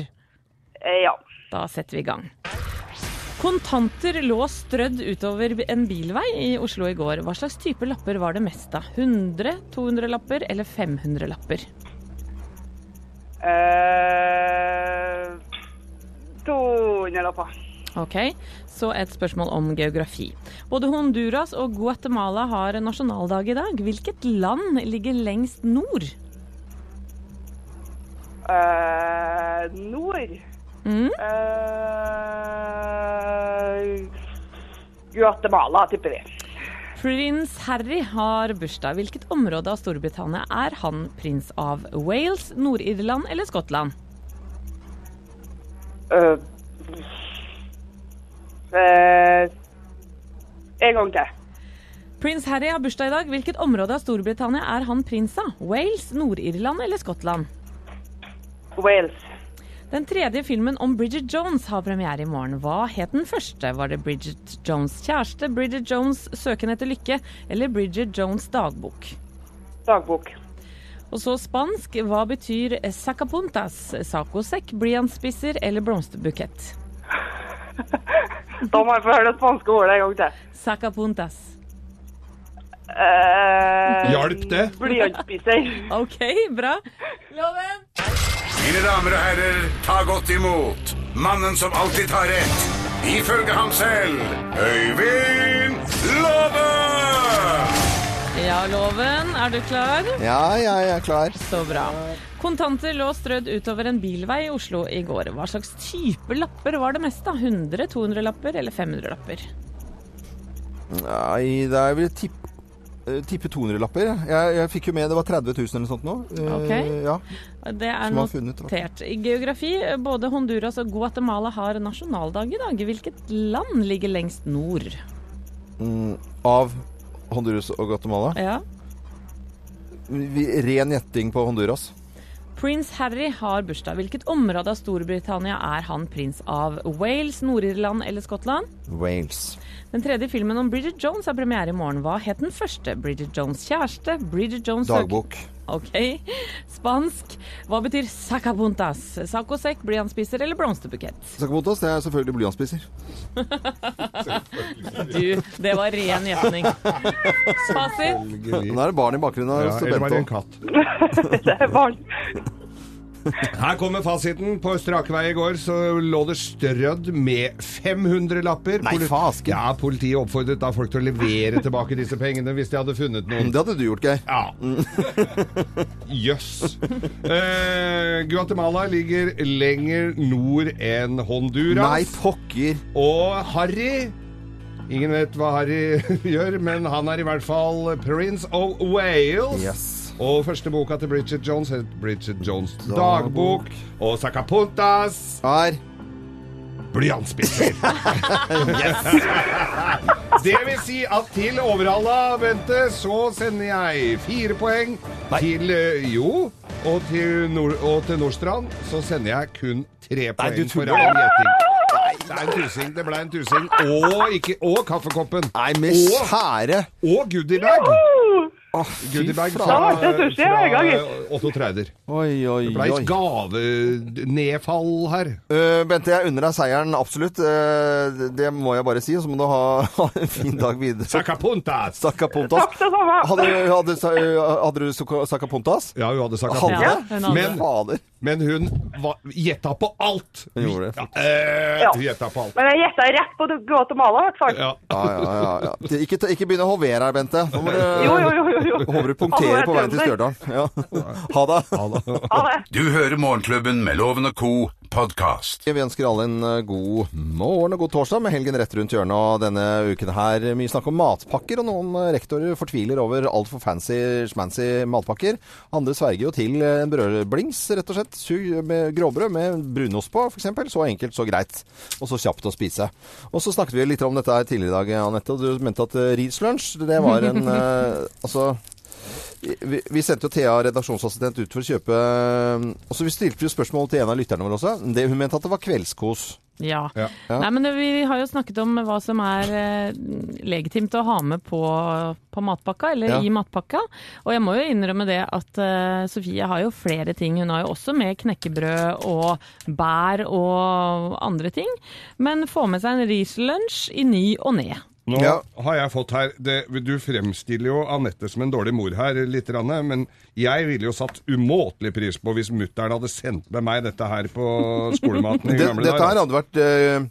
Eh, ja. Da setter vi i gang. Kontanter lå strødd utover en bilvei i Oslo i går. Hva slags type lapper var det mest av? 100, 200-lapper eller 500-lapper? Eh, 200 lapper. Ok, Så et spørsmål om geografi. Både Honduras og Guatemala har nasjonaldag i dag. Hvilket land ligger lengst nord? Eh, nord. Mm. Eh, Guatemala, tipper vi. Prins Harry har bursdag. Hvilket område av Storbritannia er han prins av? Wales, Nord-Irland eller Skottland? Eh, eh, en gang til. Prins Harry har bursdag i dag. Hvilket område av Storbritannia er han prins av? Wales, Nord-Irland eller Skottland? Wales. Den tredje filmen om Bridget Jones har premiere i morgen. Hva het den første? Var det Bridget Jones' kjæreste, Bridget Jones' søken etter lykke eller Bridget Jones' dagbok? Dagbok. Og så spansk. Hva betyr sacapuntas? Sacosekk, blyantspisser eller blomsterbukett? Da må jeg få høre det spanske ordet en gang til. Sacapuntas. Eh, Hjalp det? Blyantspisser. OK, bra. Loven! Mine damer og herrer, ta godt imot mannen som alltid tar rett, ifølge ham selv, Øyvind Låve! Ja, Loven, er du klar? Ja, ja, jeg er klar. Så bra. Kontanter lå strødd utover en bilvei i Oslo i går. Hva slags type lapper var det mest, da? 100, 200-lapper eller 500-lapper? Nei, det er vel tipp, eh, tippe 200-lapper. jeg. Jeg, jeg fikk jo med det var 30 000 eller noe sånt nå. Eh, Ok. Ja. Det er Som har funnet, da. notert. I geografi, både Honduras og Guatemala har nasjonaldag i dag. Hvilket land ligger lengst nord? Mm, av Honduras og Guatemala. Ja. Vi, ren gjetting på Honduras. Prins Harry har bursdag. Hvilket område av Storbritannia er han prins av? Wales, Nord-Irland eller Skottland? Wales. Den tredje filmen om Bridget Jones har premiere i morgen. Hva het den første? Bridget Jones' kjæreste? Bridget Jones søker- Dagbok. Ok. Spansk. Hva betyr sacapuntas? Sacosekk, blyantspisser eller blomsterbukett? Sacabotas, det er selvfølgelig blyantspisser. Du, det var ren gjetning. Fasit? Nå er det barn i bakgrunnen her. Ja, også, eller var det en Bento. katt? Det er barn. Her kommer fasiten. På strakvei i går så lå det strødd med 500 lapper. Nei, Poli- fasken. Ja, Politiet oppfordret da folk til å levere tilbake disse pengene hvis de hadde funnet noen. det hadde du gjort, Geir. Ja. Jøss. Eh, Guatemala ligger lenger nord enn Honduras. Nei, pokker. Og Harry Ingen vet hva Harry gjør, men han er i hvert fall Prince of Wales. Yes. Og første boka til Bridget Jones het Bridget Jones' Dagbok. dagbok. Og Sacapuntas Her. blyantspisser. Det vil si at til Overhalla, Bente, så sender jeg fire poeng til eh, Jo. Og til, Nord og til Nordstrand så sender jeg kun tre poeng du for tuller. rar gjetting. Det er en tusing. Det ble en tusing. Og, ikke, og kaffekoppen. Nei, med Åh. skjære. Og goodiebag. Å, fy Goodiebag fra, faen. Det var ikke sushi, jeg er i gang, jeg. fra Otto Treider. Oi, oi, Det ble oi. et gavenedfall her. Øh, Bente, jeg unner deg seieren, absolutt. Øh, det må jeg bare si. Og så må du ha, ha en fin dag videre. Sacapuntas! Sacapontas. Takk, det samme. Hadde, hadde, sa- øh, hadde du soka- sacapontas? Ja, hun hadde Hadde? sacapuntas. Ja, hun hadde. Men- Fader. Men hun var- gjetta på alt. Hun gjorde det. Ja, eh, Ja. Hun gjetta på alt. Men jeg gjetta rett på Guatemala, i hvert fall. Ja. Ja, ja, ja, ja. Det- Ikke, ta- ikke begynn å hovere her, Bente. Nå må du, Jo, jo, jo. jo, jo. Håper du punkterer på veien til Alle er Stjørdal. Ja. Ha det. Ha det. Du hører Morgenklubben med Loven og Co. podkast. Vi ønsker alle en eh, god morgen og god torsdag med helgen rett rundt hjørnet. Og denne uken her mye snakk om matpakker, og noen eh, rektorer fortviler over altfor fancy, schmancy matpakker. Andre sverger jo til eh, en brødblings, rett og slett. Su- Med gråbrød med brunost på, f.eks. Så enkelt, så greit. Og så kjapt å spise. Og så snakket vi litt om dette her tidligere i dag, Anette, og du mente at eh, Reeds lunsj, det var en eh, Altså vi, vi sendte jo Thea, redaksjonsassistent, ut for å kjøpe eh, Og så vi stilte jo spørsmål til en av lytterne våre også. Det, hun mente at det var kveldskos. Ja. Ja. Nei, men det, vi har jo snakket om hva som er eh, legitimt å ha med på, på matpakka, eller Ja. i matpakka. Og jeg må jo innrømme det at eh, Sofie har jo flere ting. Hun har jo også med knekkebrød og bær og andre ting. Men få med seg en rislunsj i ny og ned. Nå Ja. har jeg fått her det, Du fremstiller jo Anette som en dårlig mor her, litt, grann, men jeg ville jo satt umåtelig pris på hvis mutter'n hadde sendt med meg dette her på skolematen Det, i gamle dette her dager. hadde vært eh,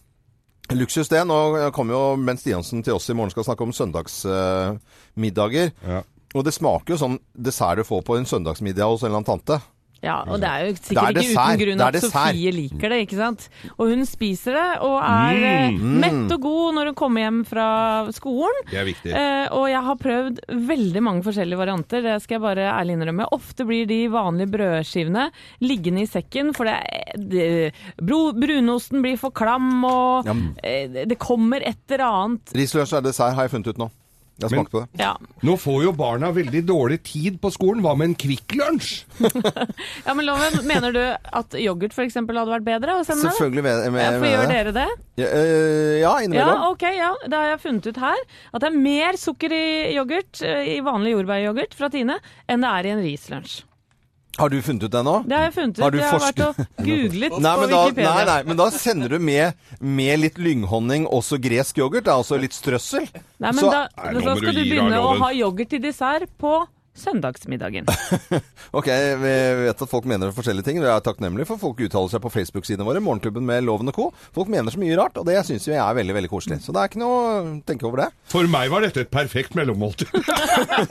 Luksus det. Nå kommer jo Bent Stiansen til oss i morgen skal snakke om søndagsmiddager. Ja. Og det smaker jo sånn dessert du får på en søndagsmiddag hos en eller annen tante. Ja, og det er jo Det sikkert er ikke dessert. uten grunn Det er at dessert. Mm, Sofie liker det, ikke sant. Og hun spiser det, og er eh, mett og god når hun kommer hjem fra skolen. Det er viktig. Eh, og jeg har prøvd veldig mange forskjellige varianter, det skal jeg bare ærlig innrømme. Ofte blir de vanlige brødskivene liggende i sekken, for det, er- det, bro, brunosten blir for klam, og Ja, men- eh, det- det kommer et eller annet. Risløs er dessert, har jeg funnet ut nå. Jeg har Men- smakt på det. Ja. Nå får jo barna veldig dårlig tid på skolen. Hva med en Kvikk Lunsj? ja, men Loven, mener du at yoghurt f.eks. hadde vært bedre å sende? Selvfølgelig med, med, Ja, med, for gjør det. dere det? Ja, øh, ja, innimellom. Ja, ok, ja. Det har jeg funnet ut her. At det er mer sukker i yoghurt, eh, i vanlig jordbæryoghurt fra Tine, enn det er i en rislunsj. Har du funnet ut det nå? Det har jeg funnet ut. Har du jeg har vært forsket- og googlet Nei på men, da, Wikipedia. nei, nei, men da sender du med, med litt lynghonning også gresk yoghurt. Det er altså litt strøssel. Nei, men Så- da, Nei, nå så må skal du du gi deg, begynne å Loven. ha yoghurt til dessert på søndagsmiddagen. Ok, jeg vet at folk mener forskjellige ting. og Jeg er takknemlig for folk uttaler seg på Facebook-sidene våre, Morgenklubben med Loven og co. Folk mener så mye rart, og det syns jeg er veldig veldig koselig. Så det er ikke noe å tenke over det. For meg var dette et perfekt mellommåltid.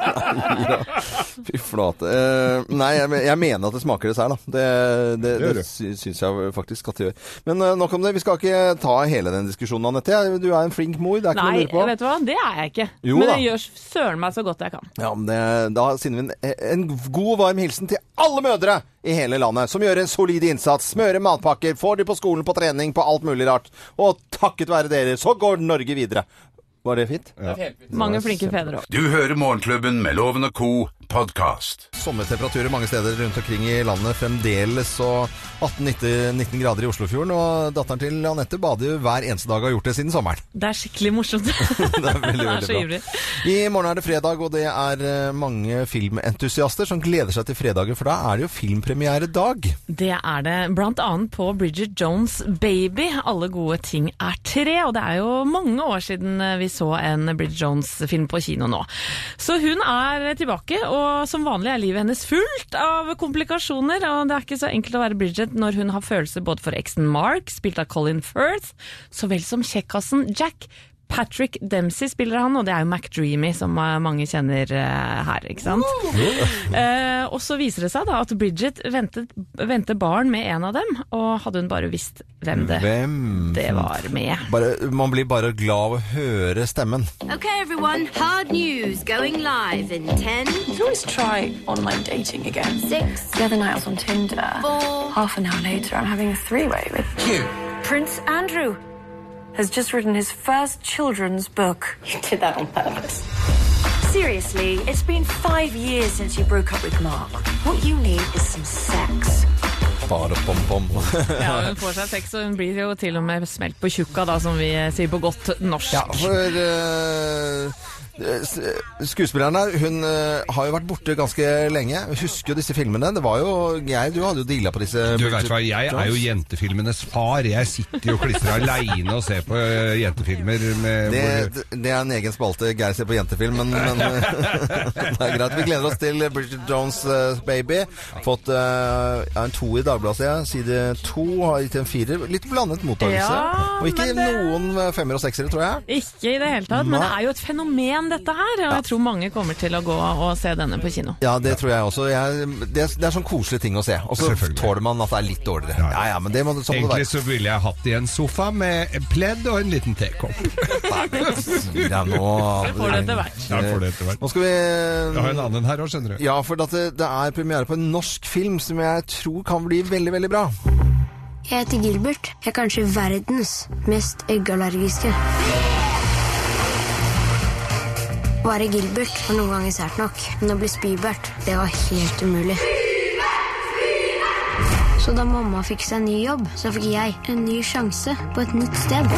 Fy flate. Eh, nei, jeg, jeg mener at det smaker dessert, da. Det, det, Det gjør det, det. sy- syns jeg faktisk at det gjør. Men eh, nok om det. Vi skal ikke ta hele den diskusjonen, Anette. Jeg- Du er en flink mor. Det er ikke Nei, noe å lure på. vet du hva, det er jeg ikke. Jo men da. jeg gjør søren meg så godt jeg kan. Ja, men det, Da sender vi en, en god, varm hilsen til alle mødre i hele landet som gjør en solid innsats. Smører matpakker, får de på skolen, på trening, på alt mulig rart. Og takket være dere, så går Norge videre. Var det fint? Mange flinke fedre òg. Du hører Morgenklubben med Loven og Co. podkast. Sommertemperaturer mange steder rundt omkring i landet fremdeles, og 18-19 grader i Oslofjorden. Og datteren til Anette bader jo hver eneste dag og har gjort det siden sommeren. Det er skikkelig morsomt. Det er veldig, Han er så veldig bra. ivrig. I morgen er det fredag, og det er eh, mange filmentusiaster som gleder seg til fredagen, for da er det jo filmpremieredag. Det er det, blant annet på Bridget Jones' Baby. Alle gode ting er tre, og det er jo mange år siden eh, vi så en Bridget Jones-film på kino nå. Så hun er tilbake, og som vanlig er livet hennes fullt av komplikasjoner, og det er ikke så enkelt å være Bridget når hun har følelser både for eksen Mark, spilt av Colin Firth, så vel som kjekkassen Jack. Patrick Dempsey spiller han, og det er jo McDreamy, som eh, mange kjenner eh, her, ikke sant? Eh, og så viser det seg da at Bridget ventet, ventet barn med en av dem, og hadde hun bare visst hvem det, Hvem? det var med. Bare, man blir bare glad av å høre stemmen. Okay, everyone, hard news going live in 10, could always try online dating again. 6, The other night I was on Tinder. 4. Half an hour later, I'm having a three-way with Prince Andrew. Has just written his first children's book. You did that on purpose. Seriously, it's been five years since you broke up with Mark. What you need is some sex. Bare pom pom. Ja, hun får seg sex, og hun blir jo til og med smelt på tjukka, da, som vi sier på godt norsk. Ja, for eh, s- Skuespilleren her, hun eh, har jo vært borte ganske lenge. Husker jo disse filmene. Det var jo Geir, du hadde jo deala på disse. Du vet hva, Jeg er jo jentefilmenes far. Jeg sitter jo og klistrer aleine og ser på eh, jentefilmer. Med, hvor, det, det er en egen spalte Geir ser på jentefilm, men, men eh, det er greit. Vi gleder oss til Bridget Jones' eh, Baby. Fått eh, ja, en to i Dagbladet, ser jeg. Side to har gitt en firer. Litt blandet mottakelse. Ja, og ikke men det- noen eh, femmer og seksere, tror jeg. Ikke i det hele tatt, men det Nei. er jo et fenomen dette her, og jeg tror mange kommer til å gå og se denne på kino. Ja, det tror jeg også. Jeg, det, er- det er sånn koselige ting å se. Og så Selvfølgelig. tåler man at det er litt dårligere. Ja, ja. Ja, ja, men det må, sånn må det Egentlig være. så ville jeg hatt i en sofa med en pledd og en liten tekopp. Sier jeg nå. Får det etter hvert. Der får du etter hvert. Nå skal Jeg har en vi annen her òg, skjønner du. Ja, for at det, det er premiere på en norsk film som jeg tror kan bli veldig, veldig bra. Jeg heter Gilbert. Jeg er kanskje verdens mest eggallergiske. Å være Gilbert var noen ganger sært nok, men å bli Spybert, det var helt umulig. Så da mamma fikk seg en ny jobb, så fikk jeg en ny sjanse på et nytt sted.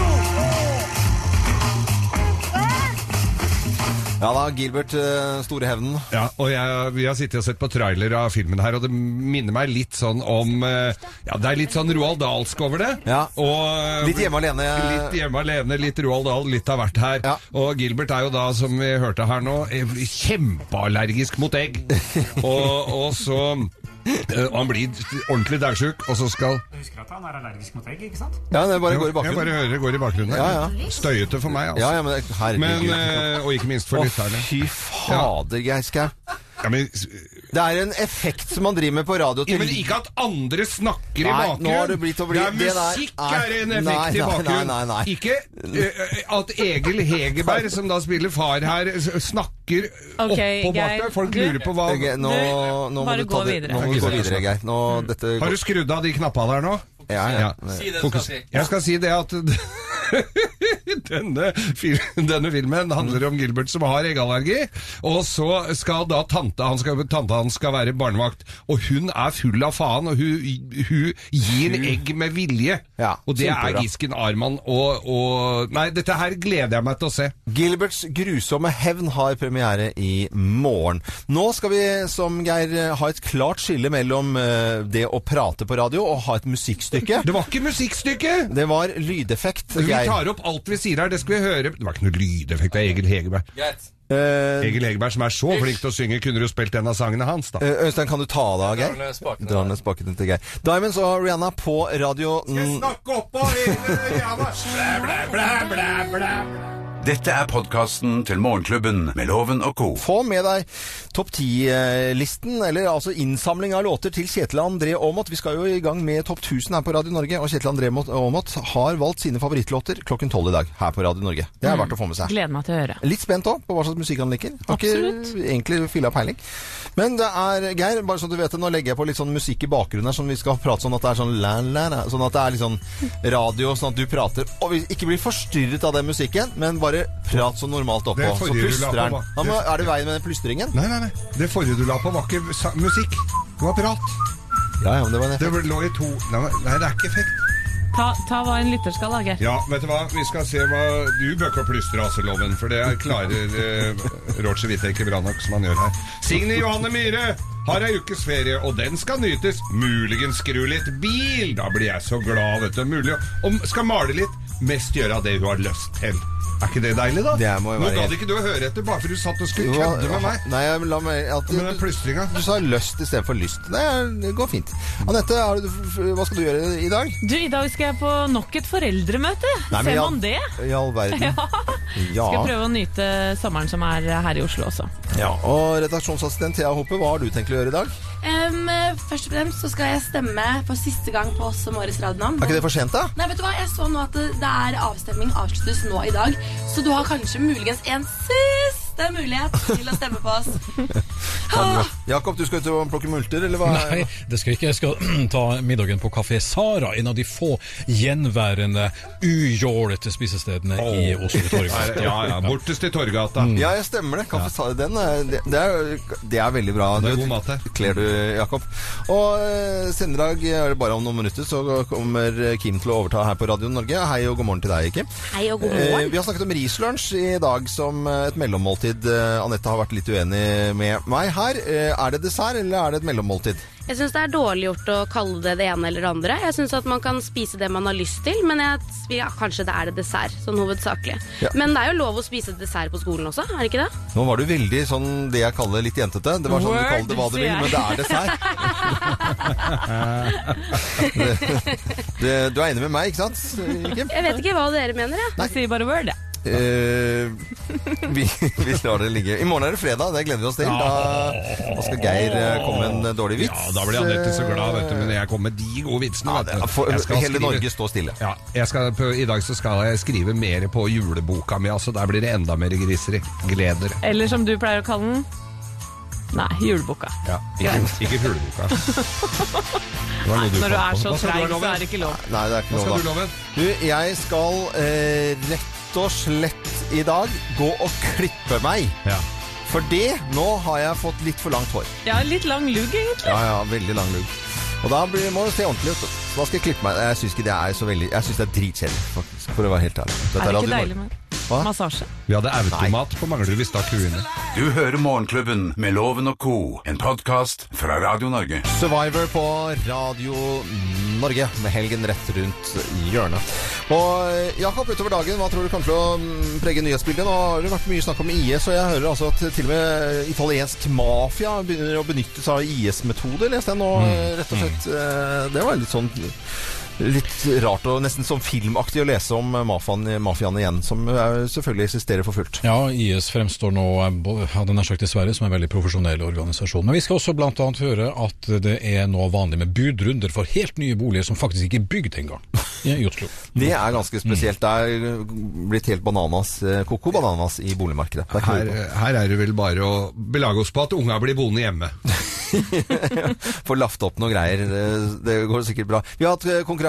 Ja da, Gilbert eh, Store Hevnen. Ja, og jeg, Vi har sittet og sett på trailer av filmen her, og det minner meg litt sånn om eh, Ja, det er litt sånn Roald Dahlsk over det. Ja. Og, eh, Litt hjemme alene. Litt hjemme alene, litt Roald Dahl, litt av hvert her. Ja. Og Gilbert er jo da, som vi hørte her nå, eh, kjempeallergisk mot egg. og, og så Eh, Og han blir ordentlig daudsjuk, og så skal Du husker at han er allergisk mot egg, ikke sant? Ja, det bare går i Jo, Jeg bakgrunnen. bare hører det går i bakgrunnen. Ja, Støyete for meg, altså. Ja, ja, men det- herregud. Men, eh, og ikke minst for Å, lytterne. fy fader, Geir Skau. det er en effekt som man driver med på radio. og Ja, men TV. ikke at andre snakker i Nei, bakgrunnen. nå har det blitt å bli- Det er det der- musikk nei, er en nei, effekt i nei, bakgrunnen. nei, nei, nei. Ikke eh, at Egil Hegerberg, som da spiller far her, s- snakker Ok, Geir, oppå bak der. Folk du- lurer på hva Geir, nå, nå må bare du ta gå det. videre. Mm. Nå må du gå videre, Geir. Nå, dette Har du skrudd av de knappa der nå? Ja, ja. Si det du Fokus. skal si. Jeg skal si det at denne, fil- denne filmen handler om Gilbert som har eggallergi, og så skal da tante han skal, tante hans skal være barnevakt, og hun er full av faen, og hun, hun gir egg med vilje. og det er kjempebra. Gisken Arman og, og Nei, dette her gleder jeg meg til å se. Gilberts grusomme hevn har premiere i morgen. Nå skal vi, som Geir, eh, ha et klart skille mellom eh, det å prate på radio og ha et musikkstykke. Det var ikke musikkstykke! Det var lydeffekt, Vi Geir. tar opp alt vi sier her, det skal vi høre. Det var ikke noe lydeffekt av Egil Hegerberg. Egil Hegerberg som er så flink til å synge, kunne du spilt en av sangene hans, da. Eh, Øystein, kan du ta av deg, Drar ned Geir? spakene. Drar ned spakene til Geir. Diamonds og Rihanna på radio snakke oppå Dette er podkasten til Morgenklubben med Loven og co. Få med deg topp 10-listen, eller altså innsamling av låter til Kjetil André Aamodt. Vi skal jo i gang med topp 1000 her på Radio Norge, og Kjetil André Aamodt har valgt sine favorittlåter klokken 12 i dag her på Radio Norge. Det er verdt å få med seg. Gleder meg til å høre. Litt spent òg på hva slags musikk han liker. Har ikke egentlig fylla peiling. Men det er Geir, bare så du vet det, nå legger jeg på litt sånn musikk i bakgrunnen her, sånn vi skal prate sånn at det er sånn la, la, la, Sånn at det er litt sånn radio, sånn at du prater og vi ikke blir forstyrret av den musikken, men bare prat så normalt oppå. Det er Så forrige du la plystrer den. på, hva? Da må- Er det veien med den plystringen? Nei, nei, nei. Det forrige du la på var ikke sa- musikk. Det var prat. Ja, ja, men det var en effekt. Det lå i to Nei, men- nei, det er ikke effekt. Ta, ta hva en lytter skal, da, Geir. Ja, vet du hva? Vi skal se hva Du bør ikke plystre raseloven, for det er klarer eh, Roger Whittaker bra nok som han gjør her. Signe Johanne Myhre har ei ukes ferie, og den skal nytes. Muligens skru litt bil. Da blir jeg så glad, vet du. Mulig å- Om skal male litt. Mest gjøre av det hun har lyst til. Er ikke det deilig, da? Det må jo Nå være gadd helt- ikke du å høre etter bare for du satt og skulle Jo, kødde med meg. Nei, men la meg at, Men den plystringa. Du sa lyst istedenfor lyst. Det, er, det går fint. Anette, har du, hva skal du gjøre i dag? Du, I dag skal jeg på nok et foreldremøte. Nei, men Ser i all- man det? I all verden. Ja. Ja. Skal prøve å nyte sommeren som er her i Oslo også. Ja, og redaksjonsassistent Thea Hoppe, hva har du tenkt å gjøre i dag? Em, eh, først og fremst så skal jeg stemme for siste gang på oss som årets radionavn. Er ikke det for sent, da? Nei, vet du hva? Jeg så nå at det, det er avstemning avsluttes nå i dag, så du har kanskje muligens en siste mulighet til å stemme på oss. Ah. Jakob, du skal ut og plukke multer, eller hva? Nei, det skal jeg ikke. Jeg skal ta middagen på Kafé Sara, en av de få gjenværende ujålete spisestedene i Oslo Torgata. Ja, ja. Bortest i Torgata. Ja, jeg stemmer det. Kaffe Sara, den er, det, det, er, det er veldig bra. Det er Du- god mat her. Kler du, Jakob. Og eh, sendedag er det bare om noen minutter, så kommer Kim til å overta her på Radio Norge. Hei og god morgen til deg, Kim. Hei og god morgen. Eh, vi har snakket om rislunsj i dag som eh, et mellommåltid. Eh, Anette har vært litt uenig med meg her. Eh, er det dessert, eller er det et mellommåltid? Jeg syns det er dårlig gjort å kalle det det ene eller det andre. Jeg syns at man kan spise det man har lyst til, men jeg, ja, kanskje det er det dessert, sånn hovedsakelig. Ja. Men det er jo lov å spise dessert på skolen også, er det ikke det? Nå var du veldig sånn det jeg kaller litt jentete. Det var sånn du kaller det hva du vil, men det er dessert. Det, du er enig med meg, ikke sant? Kim? Jeg vet ikke hva dere mener, jeg. Jeg sier bare word, jeg. Eh, vi, vi lar det ligge. I morgen er det fredag, det gleder vi oss til. Da, da skal Geir eh, komme med en dårlig vits. Ja, da blir Anette så glad, vet du. Men jeg kommer med de gode vitsene. Ja, vet du. det- for- Jeg skal hele skrive- Norge står stille. Ja, jeg skal, på, I dag så skal jeg skrive mer på juleboka mi. Altså, der blir det enda mer griseri. Gled dere. Eller som du pleier å kalle den. Nei, juleboka. Ja, ikke, ikke juleboka. Nei, når du er så Hva skal du treig, ha, så Loven? er det ikke lov. Nei, det er ikke Hva lov, skal da. du, Loven? Du, jeg skal eh, rett og slett i dag gå og klippe meg. For det, nå har jeg fått litt for langt hår. Jeg har litt lang lugg, egentlig. Ja, ja, veldig lang lugg. Og da blir, må det se ordentlig ut. Så Da skal jeg klippe meg. Jeg syns ikke det er så veldig Jeg syns det er dritkjedelig, faktisk. For å være helt ærlig. Dette Er det Radio ikke Norge. deilig med Hva? massasje? Vi hadde automat på Manglerud vi stakk huet inni. Du hører Morgenklubben med Loven og co., en podkast fra Radio Norge. Survivor på Radio Norge med helgen rett rundt hjørnet. Og eh, Jakob, utover dagen, hva tror du kommer til å mm, prege nyhetsbildet? Nå har det vært mye snakk om IS, og jeg hører altså at til og med italiensk mafia begynner å benytte seg av IS-metoder, leste jeg nå, eh, rett og slett. Eh, Det var litt sånn Litt rart og nesten sånn filmaktig å lese om eh, mafiaen, mafiaen igjen, som eh, selvfølgelig eksisterer for fullt. Ja, IS fremstår nå, eh, hadde nær sagt i Sverige, som en veldig profesjonell organisasjon. Men vi skal også bl.a. høre at det er nå vanlig med budrunder for helt nye boliger som faktisk ikke er bygd engang i Oslo. Det er ganske spesielt. Det er blitt helt bananas, eh, koko bananas i boligmarkedet. Det er ikke Her, noe her er det vel bare å belage oss på at unga blir boende hjemme. Får laft opp noen greier. Eh, Det- Det går sikkert bra. Vi har hatt eh, konkurranse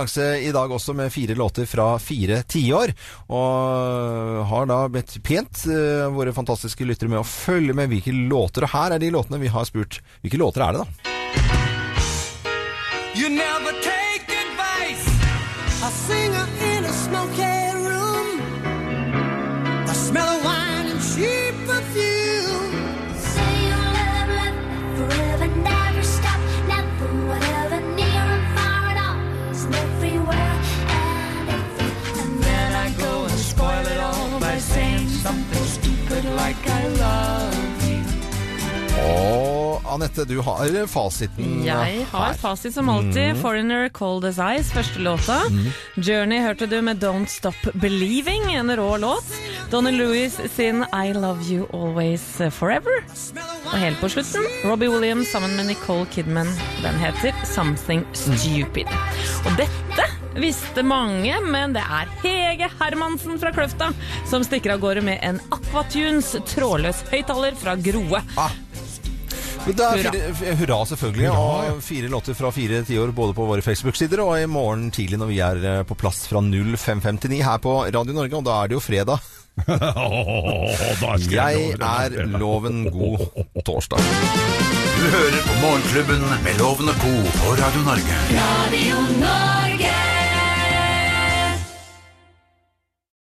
i dag også med fire låter fra fire tiår. Og har da bedt pent eh, våre fantastiske lyttere med å følge med hvilke låter. Og her er de låtene vi har spurt. Hvilke låter er det, da? You never take advice. A singer in a smoky room. The smell of wine and cheap perfume. Say you love, love forever, never stop. Never, whatever, near and far and always and everywhere. And, if- and then I go and spoil it all by saying something stupid like I love you. Og Anette, du har fasiten. Jeg har fasit som alltid. Mm. Foreigner Cold As Ice, første låta. Journey hørte du med Don't Stop Believing, en rå låt. Donny Lewis sin I Love You Always Forever. Og helt på slutten Robbie Williams sammen med Nicole Kidman. Den heter Something Stupid. Og dette visste mange, men det er Hege Hermansen fra Kløfta som stikker av gårde med en Aquatunes trådløs høyttaler fra Groe. Ah. Men Det er Hurra. fire, f- hurra, selvfølgelig. og fire låter fra fire tiår både på våre Facebook-sider og i morgen tidlig når vi er eh, på plass fra 0559 her på Radio Norge, og da er det jo fredag. skal jeg jeg er loven god torsdag. Du hører på Morgenklubben med Loven og Co. på Radio Norge. Radio Norge.